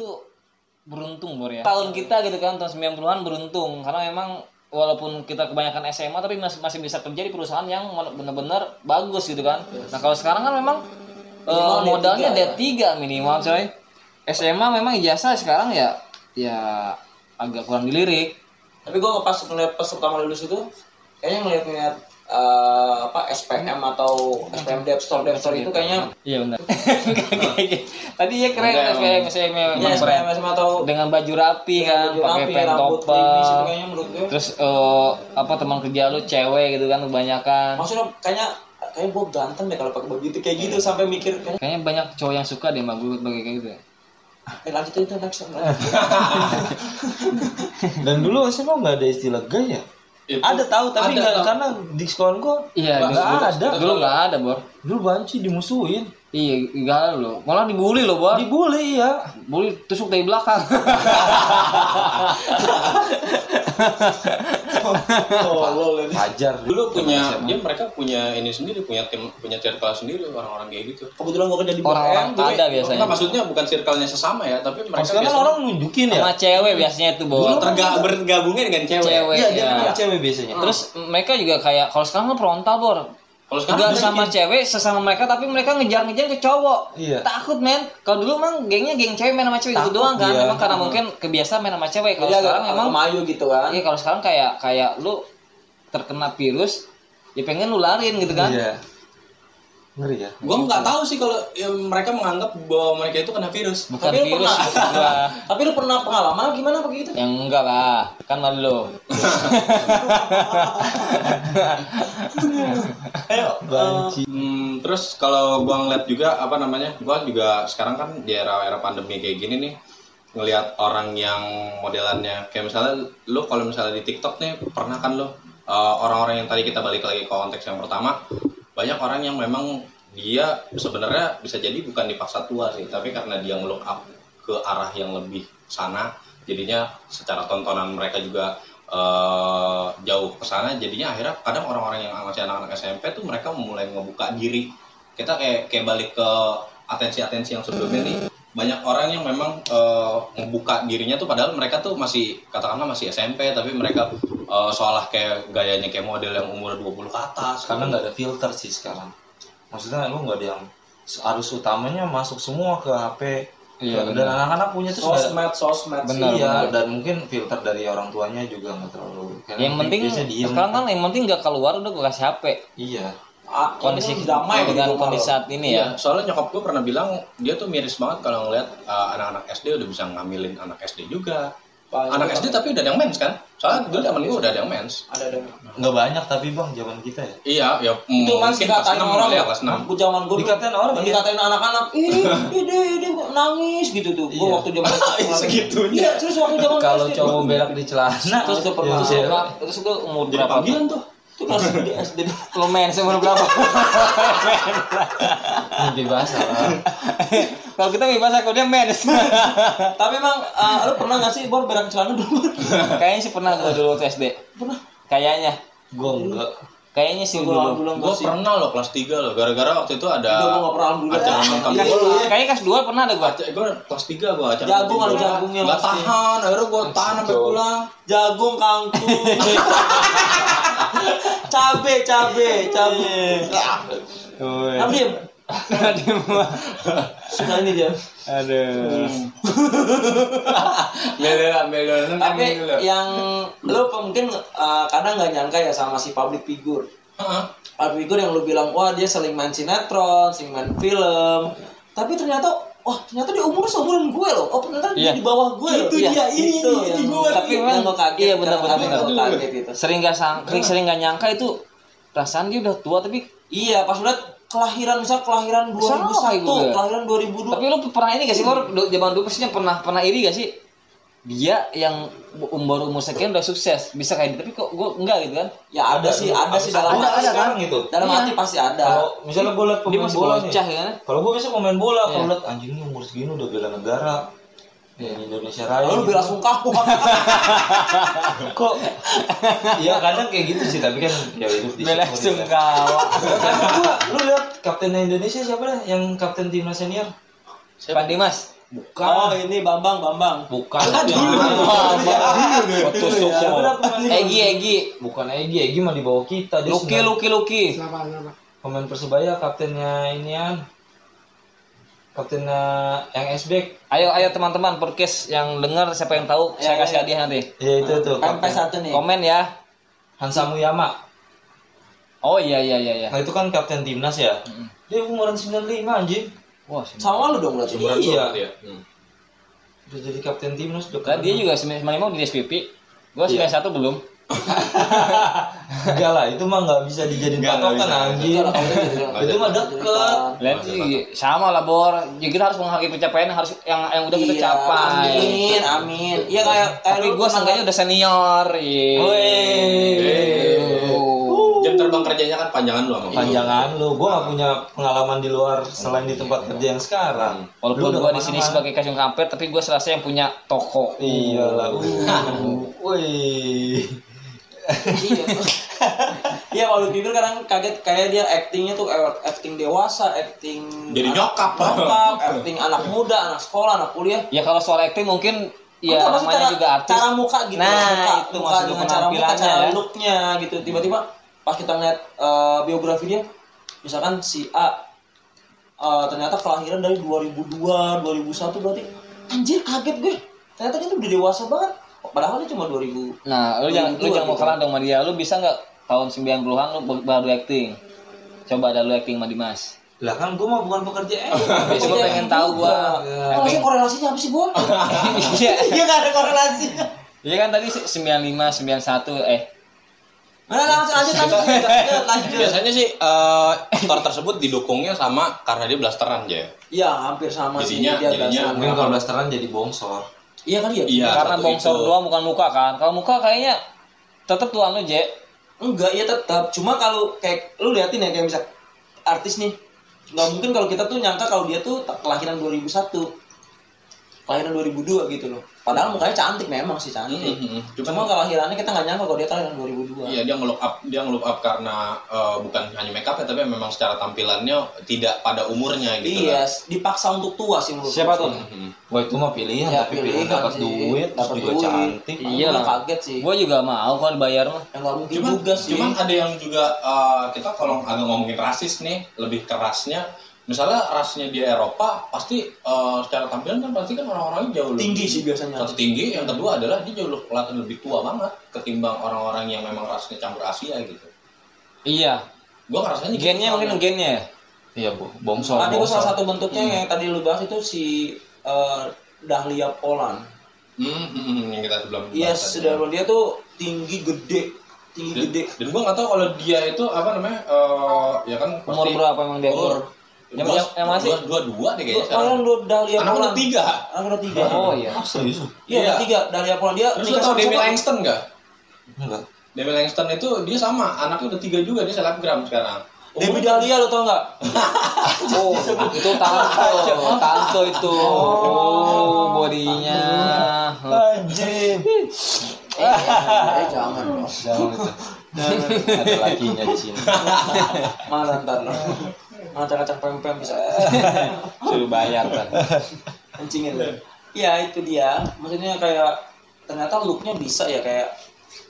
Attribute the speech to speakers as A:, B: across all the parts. A: Oh, beruntung Bor ya. Tahun kita gitu kan tahun 90-an beruntung karena memang walaupun kita kebanyakan SMA tapi masih masih bisa kerja di perusahaan yang benar-benar bagus gitu kan. Nah, kalau sekarang kan memang eh,
B: ya.
A: modalnya D3 minimal coy. SMA memang ijazah sekarang ya ya agak kurang dilirik.
B: tapi gue pas ngeliat pas pertama lulus itu kayaknya ngeliat ngeliat eh, apa SPM atau SPM Dev Store Dev Store itu kayaknya
A: Iya benar. Tadi ya keren SPM SPM
B: ya,
A: memang keren.
B: SPM SMA atau
A: Dengan baju rapi kan,
B: Iya, baju
A: pakai
B: rapi,
A: pen
B: rambut klimis itu
A: topeng.
B: kayaknya menurut gue
A: Terus eh, apa teman kerja lu cewek gitu kan kebanyakan.
B: maksudnya kayaknya kayaknya gue ganteng deh kalau pakai baju itu kayak gitu sampai mikir kayaknya
A: Kayaknya banyak cowok yang suka deh sama gue kayak gitu. ya.
B: eh, lanjut itu next
C: Dan dulu SMA nggak ada istilah gay ya?
D: Itu
C: Ada tahu tapi
D: ada,
C: nggak
D: tahu.
C: karena di sekolah gua
A: Iya,
C: nggak
A: dulu,
C: ada.
A: Dulu nggak ada, Bor.
C: Dulu banci dimusuhin,
A: Iya, nggak ada lo. Malah dibully lo, Bor.
C: dibully ya.
A: Bully tusuk dari belakang.
B: tolol ya. ini
C: Ajar
D: dulu punya dia mereka punya ini sendiri punya tim punya circle sendiri orang-orang kayak gitu
B: kebetulan gue kerja di
A: Orang-orang
B: BPM,
A: ada biasanya.
D: Enggak, maksudnya bukan circle-nya sesama ya tapi mereka
C: Maksudnya kan
D: biasanya
C: orang nunjukin ya.
A: Sama cewek biasanya itu,
D: Orang
A: Bor.
D: terga bergabungnya dengan cewek,
A: Cewek.
C: Iya, dia
A: ya.
C: punya cewek biasanya.
A: Terus mereka juga kayak kalau sekarang kan frontal, Bor.
D: Kalau sekarang
A: Juga
D: dia
A: sama cewek sesama mereka tapi mereka ngejar-ngejar ke cowok.
C: Iya.
A: Takut, men. Kalau dulu emang gengnya geng cewek main sama cewek gitu doang kan.
C: dia.
A: Emang karena mungkin kebiasaan main sama cewek. Kalau
B: Jadi agak-
A: sekarang
B: agak
A: emang
B: maju iya, gitu kan
A: Iya kalau sekarang kayak kayak lu terkena virus, ya pengen lu larin gitu kan?
C: Iya. Ngeri ya.
D: gue nggak tahu sih kalau ya, mereka menganggap bahwa mereka itu kena virus
A: Bukan
B: Tapi lu
A: virus,
B: pernah-
A: maksud gua.
B: tapi lu pernah pengalaman gimana gitu? begitu
A: yang enggak lah, kan malu lu.
B: ayo
C: Banci.
D: Hmm, terus kalau gua ngeliat juga apa namanya, gua juga sekarang kan di era-era pandemi kayak gini nih ngelihat orang yang modelannya kayak misalnya lu kalau misalnya di TikTok nih pernah kan lu uh, orang-orang yang tadi kita balik lagi ke konteks yang pertama banyak orang yang memang dia sebenarnya bisa jadi bukan dipaksa tua sih tapi karena dia nge-look up ke arah yang lebih sana jadinya secara tontonan mereka juga eh, jauh ke sana jadinya akhirnya kadang orang-orang yang masih anak-anak SMP tuh mereka mulai ngebuka diri kita kayak kayak balik ke atensi-atensi yang sebelumnya nih banyak orang yang memang eh, ngebuka dirinya tuh padahal mereka tuh masih katakanlah masih SMP tapi mereka eh, seolah kayak gayanya kayak model yang umur 20 ke atas
C: Karena nggak ada filter sih sekarang. Maksudnya lu nggak ada yang arus utamanya masuk semua ke HP.
A: Iya,
C: dan
A: benar.
C: anak-anak punya terus nggak-
B: sosmed sosmed sih.
A: Benar,
C: iya,
A: benar.
C: dan mungkin filter dari orang tuanya juga nggak terlalu. Karena
A: yang penting
C: biasanya diem.
A: sekarang kan yang penting nggak keluar udah gue kasih HP.
C: Iya.
B: Ah,
A: Kondisi
B: ini damai gitu
A: dengan
B: kalau-
A: kondisi saat ini ya.
D: Iya, soalnya nyokap gue pernah bilang dia tuh miris banget kalau ngeliat uh, anak-anak SD udah bisa ngambilin anak SD juga.
B: Banyak
D: anak SD tapi udah ada yang mens kan? Soalnya dulu temen gue udah ada yang mens.
B: ada ada
C: Nggak banyak tapi bang zaman kita ya.
D: Iya, ya
B: itu kan dikatain orang
D: ya
B: ya
D: kelas 6.
B: Gua zaman gue
C: Dikatain orang, iya.
B: dikatain anak-anak ini ini ini nangis gitu tuh gue
C: Iya.
B: waktu zaman
D: Segitunya.
B: iya terus waktu zaman
C: Kalau
B: SD,
C: cowok berak di celana,
B: terus
C: itu
B: udah pernah
C: ya,
B: Iya.
A: Nah, terus gue umur
D: Jadi
A: berapa?
D: panggilan tuh.
B: itu kelas di SD
A: Lu men umur berapa?
C: mimpi basah. lah.
A: kalau kita bebas aku dia men.
B: tapi emang eh, lu pernah nggak sih bor berak celana dulu
A: Kayaknya sih pernah gue dulu waktu SD.
B: pernah
A: Kayaknya.
C: Gue enggak.
A: Kayaknya sih
B: gue
A: dulu.
B: belum
D: Gue
B: sih
D: pernah loh kelas 3 loh, gara-gara waktu itu ada
B: Udah, gua nggak pernah, alhamdulillah.
D: acara nonton
B: Iya, iya.
D: bola.
A: Kan Kayaknya kelas 2 pernah ada gue.
D: Gue kelas 3 gue acara
B: Jagung,
D: nonton
B: ada
D: bola.
B: jagungnya
D: Nggak
B: pasti.
D: tahan, akhirnya gue tahan sampai pulang.
B: jagung kangkung cabe cabe cabe Abdim suka ini dia
A: Aduh.
D: Melon, melon.
B: tapi
D: iya.
B: yang lu mungkin eh, kadang nggak nyangka ya sama si public figure public figure yang lu bilang wah dia sering main sinetron sering main film tapi ternyata wah ternyata dia umur seumuran gue loh oh ternyata dia
A: Iya.
B: di bawah gue loh.
D: Itu
B: Iya,
D: dia, ini,
B: itu yang-
D: ini, ini gue.
B: tapi memang gue kaget
A: Iya, benar,
B: kadang-kadang
A: benar,
B: gua
D: benar.
B: kaget gitu
A: sering nggak sang sering- sering nggak nyangka itu perasaan dia udah tua tapi
B: iya pas udah kelahiran misal kelahiran
A: Salah,
B: 2001
A: gue.
B: kelahiran 2002
A: tapi lu pernah ini gak sih Bor? Du- zaman dulu pastinya pernah pernah iri gak sih dia yang umur umur sekian udah sukses bisa kayak gitu tapi kok gue enggak gitu kan
B: ya ada, sih ada sih dalam
C: Ada,
B: hati
C: Oh. ada kan?
B: sekarang gitu dalam
A: Iya.
B: hati pasti ada
C: Kalau misalnya gue liat
A: dia
C: pemain
A: masih
C: bola nih.
A: bocah ya kan
C: Kalau gue biasa pemain bola, kalau
A: Iya.
C: liat anjingnya umur segini udah bela negara. Ya, di Indonesia Raya.
B: lalu
C: gitu.
B: bela sungkaw
C: kok? Iya kadang kayak gitu sih, tapi kan ya hidup di
A: bela
C: syukur, ya.
A: sungkawa
C: Tapi gua, lu lihat kapten Indonesia siapa dah? Yang kapten timnas senior?
A: Pak Dimas
C: bukan
B: Oh ini Bambang Bambang.
C: bukan
B: Dulu.
C: ya. Waktu
A: ya.
C: Soko.
A: Egi Egi
C: bukan Egi Egi mah di bawah kita dia
A: Luki
C: sedang-
A: Luki Luki
E: Kenapa? Kenapa?
C: pemain persebaya kaptennya inian kaptennya yang S-back
A: Ayo ayo teman-teman podcast yang dengar siapa yang tahu saya
B: Iya,
A: kasih
B: iya.
A: hadiah nanti.
C: ya itu
B: MP
C: tuh kapten
B: Kan satu nih.
A: Komen ya.
C: Hansa Muyama
A: Oh iya iya iya iya.
C: nah itu kan kapten timnas ya dia umuran 95 anjing
A: Wah, sini.
B: Sama lu dong berarti.
C: iya
D: Iya. Hmm.
C: udah jadi kapten timnas udah
A: Lah, dia juga 95 di SPP. Gua
C: Iya.
A: 91 belum.
C: enggak lah itu mah nggak bisa dijadiin
D: Nggak, nggak
C: patokan
D: bisa.
C: anjing itu mah deket
A: Lihat sih sama lah Bor. Ya, kita harus menghargai pencapaian yang harus yang yang udah kita
B: Iya,
A: capai.
B: Amin, amin. Iya kayak kayak
A: Tapi
B: lu
A: gua
B: pernah- kan?
A: seenggaknya udah senior. iya. Ye. Oh.
D: Jam terbang kerjanya kan panjangan lu sama gua.
C: panjangan lu gua nggak punya pengalaman di luar selain di tempat kerja yang sekarang
A: Walaupun
C: Lu udah
A: gua di sini
C: kemana-mana.
A: sebagai kasih kampret, tapi gua serasa yang punya toko.
C: iyalah uh, woi
B: Iya. Iya kalau pikir kadang kaget kayak dia actingnya tuh eh, acting dewasa, acting
D: Jadi
B: anak-
D: nyokap, Bang.
B: nyokap, acting anak muda, anak sekolah, anak kuliah.
A: Ya kalau soal acting mungkin ya
B: Enggak, maksudnya
A: namanya
B: cara-
A: juga artis.
B: Cara muka gitu,
A: Nah,
B: muka,
A: itu
B: muka
A: maksud
B: dengan cara muka,
A: penampilannya,
B: cara
A: ya.
B: looknya gitu. Tiba-tiba pas kita ngeliat eh, biografi dia, misalkan si A eh, ternyata kelahiran dari 2002, 2001 berarti anjir kaget gue. Ternyata dia tuh udah dewasa banget. Padahal dia cuma 2000
A: Nah, lu jangan lu
B: Dua,
A: jangan mau
B: gitu.
A: kalah dong sama dia. Lu bisa nggak tahun 90-an lu baru- baru acting? Coba ada lu acting sama Dimas.
C: lah kan gua mah bukan pekerja eh
A: Ya, coba
B: Iya,
A: pengen tahu gua.
B: Oh, maksudnya korelasinya apa sih, Bon?
A: Iya.
B: Iya gak ada korelasinya.
A: Iya kan tadi se- 95 91 eh
B: Nah, langsung lanjut lanjut lanjut lanjut.
D: Biasanya sih eh, aktor tersebut didukungnya sama karena dia blasteran aja.
B: Iya hampir sama sih
D: Jadinya-
B: dia
D: jadinya-
B: jadinya.
C: mungkin kalau blasteran jadi bongsor
B: Iya kali ya.
D: Iya.
A: karena
D: satu
A: bongsor
D: itu.
A: doang bukan muka kan. Kalau muka kayaknya anu, tetap tuan lu, Je.
B: Enggak ya tetap. Cuma kalau kayak lu liatin ya kayak misal artis nih. Nggak mungkin kalau kita tuh nyangka kalau dia tuh kelahiran 2001 kelahiran 2002 gitu loh. Padahal mukanya cantik memang sih cantik.
D: Mhm.
B: Cuma kelahirannya kita nggak nyangka kalau dia kelahiran 2002.
D: Iya dia ngelook up dia ngelook up karena eh, bukan hanya make up ya tapi memang secara tampilannya tidak pada umurnya gitu.
B: Iya,
D: lah.
B: dipaksa untuk tua sih menurut
A: Siapa
B: gue.
A: tuh?
D: Mhm.
C: Mm-hmm. Wah itu mah pilihan,
B: Ya,
C: tapi pilihan,
B: pilihan
C: dapat
B: sih.
C: duit, terus
B: Dapat
C: juga
B: duit.
C: cantik.
A: Iya
B: Gua
A: lah.
B: kaget sih.
A: Gua juga mau kalau dibayar mah.
B: yang nggak mungkin
D: Cuman,
B: juga sih.
D: cuman ada yang juga eh, kita kalau agak ngomongin rasis nih lebih kerasnya. Misalnya rasnya di Eropa pasti eh, secara tampilan kan pasti kan orang-orangnya jauh lebih
B: tinggi sih biasanya.
D: Satu tinggi, yang kedua adalah dia jauh kelihatan lebih tua banget ketimbang orang-orang yang memang rasnya campur Asia gitu.
A: Iya.
D: Gua ngerasanya gitu
A: Gennya mungkin
D: soalnya.
A: gennya ya.
C: Iya bu, bongsor.
B: Tadi gua
C: bongsor.
B: salah satu bentuknya yang tadi lu bahas itu si eh, Dahlia Polan.
D: Hmm, hmm, hmm, yang kita sebelum
B: Iya,
D: bahas tadi.
B: sudah dia tuh tinggi gede, tinggi
D: Dan,
B: gede.
D: dan gue gak tau kalau dia itu apa namanya eh, ya kan pasti
A: Umur berapa emang dia?
D: umur
A: Yang-
D: dua,
A: yang- yang masih?
D: dua, dua, dua deh
B: Lu
D: kayaknya sekarang.
B: kalian lu Dahlia
D: Anak udah
B: Polan.
D: tiga.
B: Anak udah tiga.
A: Oh iya.
C: Ah, serius? lu?
B: Iya,
D: Iya.
B: udah tiga Dahlia Polan dia.
D: Terus lu
B: nikah
D: tau
B: sama
D: Demi
B: siapa?
D: Langston gak?
C: Enggak.
D: Demi Langston itu dia sama anaknya udah tiga juga dia selebgram sekarang.
B: Demi Dahlia lu tau nggak?
A: Oh, itu Tanto. Tanto itu. Oh, bodinya.
C: Anjir.
B: eh jangan. dong.
C: Jangan itu. Ada lakinya di sini.
B: Mana ntar lo? Mana kacang pempem bisa?
A: Suruh bayar kan.
B: kencingin lu. Iya itu dia. Maksudnya kayak ternyata looknya bisa ya kayak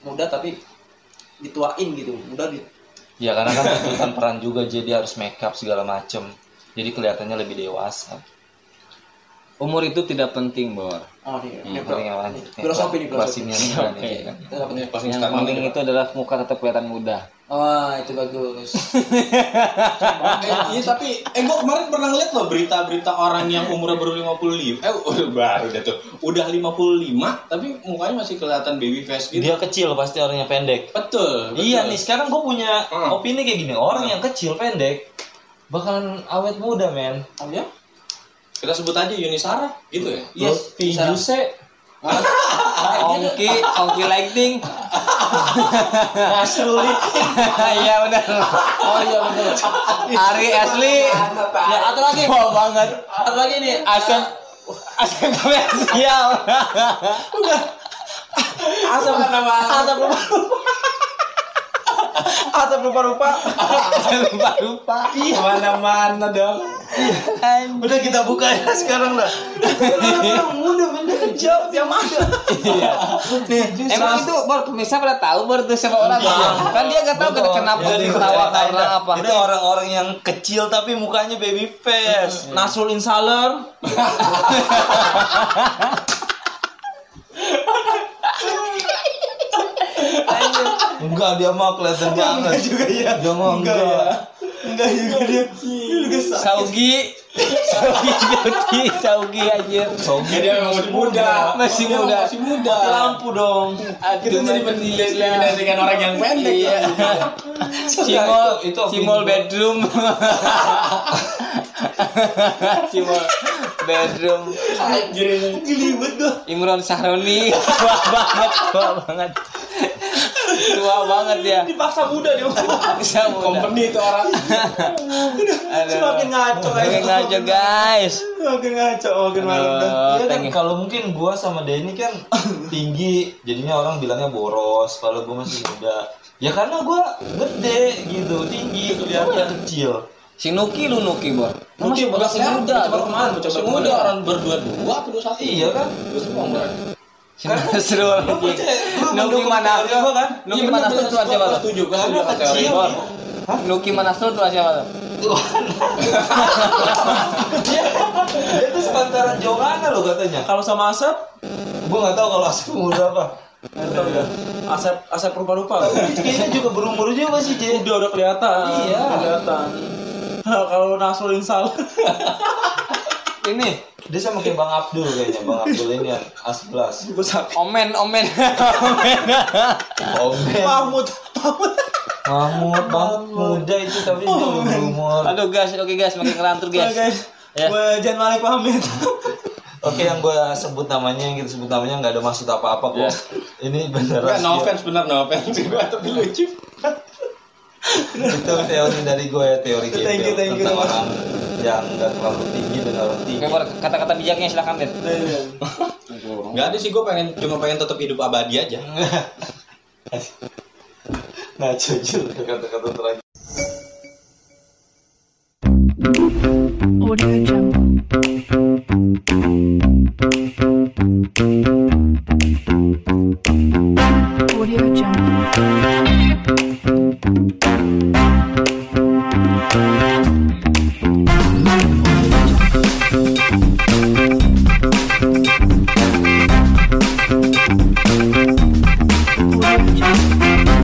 B: muda tapi dituain gitu. Muda di
C: Ya karena kan tuntutan peran juga, jadi harus make up segala macem. Jadi kelihatannya lebih dewasa.
A: Umur itu tidak penting, Bor.
B: Oh iya.
C: Yang
B: Hmm,
C: penting yang lain.
B: Filosofi nih filosofi.
C: Basinya nih, kan, ini kan.
D: Ini pasti
A: Yang
D: sekarang
A: penting itu adalah muka tetap kelihatan muda.
B: Wah itu bagus.
D: Eh, iya tapi eh gua kemarin pernah ngeliat loh berita-berita orang yang umurnya baru 55 eh udah baru udah tuh udah 55 tapi mukanya masih kelihatan baby face gitu.
C: Dia kecil pasti orangnya pendek.
D: Betul, betul.
C: Iya nih sekarang gue punya
D: Hmm.
C: opini kayak gini orang yang kecil pendek bakalan awet muda men.
B: Oh ya?
D: Kita sebut aja Yunisara gitu ya.
A: Iya.
B: Yes.
C: Lutfi
B: bisa.
C: Juse
B: Ah, Iya, Eh,
A: Ongki, Ongki lighting.
C: Nasrulli
A: Iya benar.
B: Oh iya betul.
A: Ari Asli.
B: Ya Ah, atau lagi.
A: Wow banget.
B: Atau lagi nih.
A: Asam asam komersial.
B: Asam kenapa? Asam
A: Asam lupa lupa. Asam lupa lupa.
C: mana mana dong. Udah kita buka ya sekarang lah.
B: Orang muda bener jauh yang mana?
C: Iya.
A: Emang itu baru pemirsa pada tahu baru tuh siapa orang kan dia gak tahu
C: Betul.
A: kenapa
C: Jadi,
A: ketawa
C: ya,
A: karena
C: ya,
A: apa.
C: Itu orang-orang yang kecil tapi mukanya baby face.
B: Nasrul Insaler.
C: Enggak dia mah kelihatan banget. juga ya. Dia mah enggak. Enggak juga dia.
A: Saugi, Saugi Joti, Saugi anjir.
C: Sogi
D: Jadi emang masih muda.
A: Masih muda.
B: Masih muda. Lampu dong.
D: Kita jadi penilaian dengan orang yang pendek.
A: Iya. Cimol,
C: Itu- itu opini
A: Cimol
C: gua.
A: bedroom. Cimol bedroom.
D: Anjir ini.
B: Gilibet gue.
A: Imron Sahroni tua banget, tua banget. Tua banget ya.
B: Dipaksa muda dia.
A: Bisa muda.
D: Company itu orang.
A: Aduh.
B: Semakin ngaco
A: Oke
B: kayak
A: ngaco guys.
B: Semakin ngaco makin
A: Eh,
B: malam dah.
A: Aduh,
C: Iya kan,
A: thank you.
C: kalau mungkin gua sama Denny kan tinggi, jadinya orang bilangnya boros. Kalau gua masih muda, ya karena gua gede gitu, tinggi kelihatan kecil.
A: Si Nuki lu Nuki, Bor. Lu
C: Nuki,
A: masih
C: Bor.
A: masih muda.
D: Coba
A: Bor.
D: kemarin, coba
C: Masih
D: kemarin.
C: muda,
D: orang berdua dua atau dua satu.
C: Iya kan?
D: Dua semua orang.
A: Si Nasrul
C: Lu
A: lagi.
C: percaya? Lu
A: Nuki
C: mendukung
A: mana?
C: teori gua kan?
A: Nuki mana tuh tuan siapa tuh?
D: Setuju, gue setuju sama teori.
C: Kecil.
A: Bor. Nuki mana tuh tuan siapa tuh?
C: Dia, dia tuh Iya. sepantaran Jongana loh katanya.
B: Kalau sama Asep,
C: Gua nggak tahu kalau asli umur berapa.
B: Asep Asep rupa-rupa.
C: Kayaknya juga berumur juga sih, J.
B: Udah udah kelihatan.
C: Iya.
B: Kelihatan. Nah, Kalau Nasrul Insaler.
A: Ini
C: Dia sama kayak Bang Abdul kayaknya, Bang Abdul ini yang asblas.
B: Gue sakit.
A: Omen, omen, omen.
C: Oh, man.
B: Mahmud. Mahmud.
C: Mahmud, Mahmud muda itu tapi
B: Oh,
C: dia udah berumur.
A: Aduh guys, oke guys, makin ngelantur
B: Oke,
A: guys.
B: guys.
A: Ya.
B: Gue Jan Malik pamit.
C: Oke, yang gue sebut namanya, yang kita sebut namanya nggak ada maksud apa-apa kok. Ini
D: Enggak,
C: beneran
D: no
C: sih.
D: offense bener, no offense. Gue tapi lucu.
C: Itu teori dari gue ya, teori gitu.
B: Thank you, thank you.
C: Tentang orang yang nggak terlalu tinggi dan orang tinggi.
A: Oke, Bor, kata-kata bijaknya silakan, Den.
D: Enggak ada sih, gue pengen cuma pengen tetap hidup abadi aja.
C: Nah, jujur kata-kata terakhir.
E: Audio Jungle. Audio Jungle.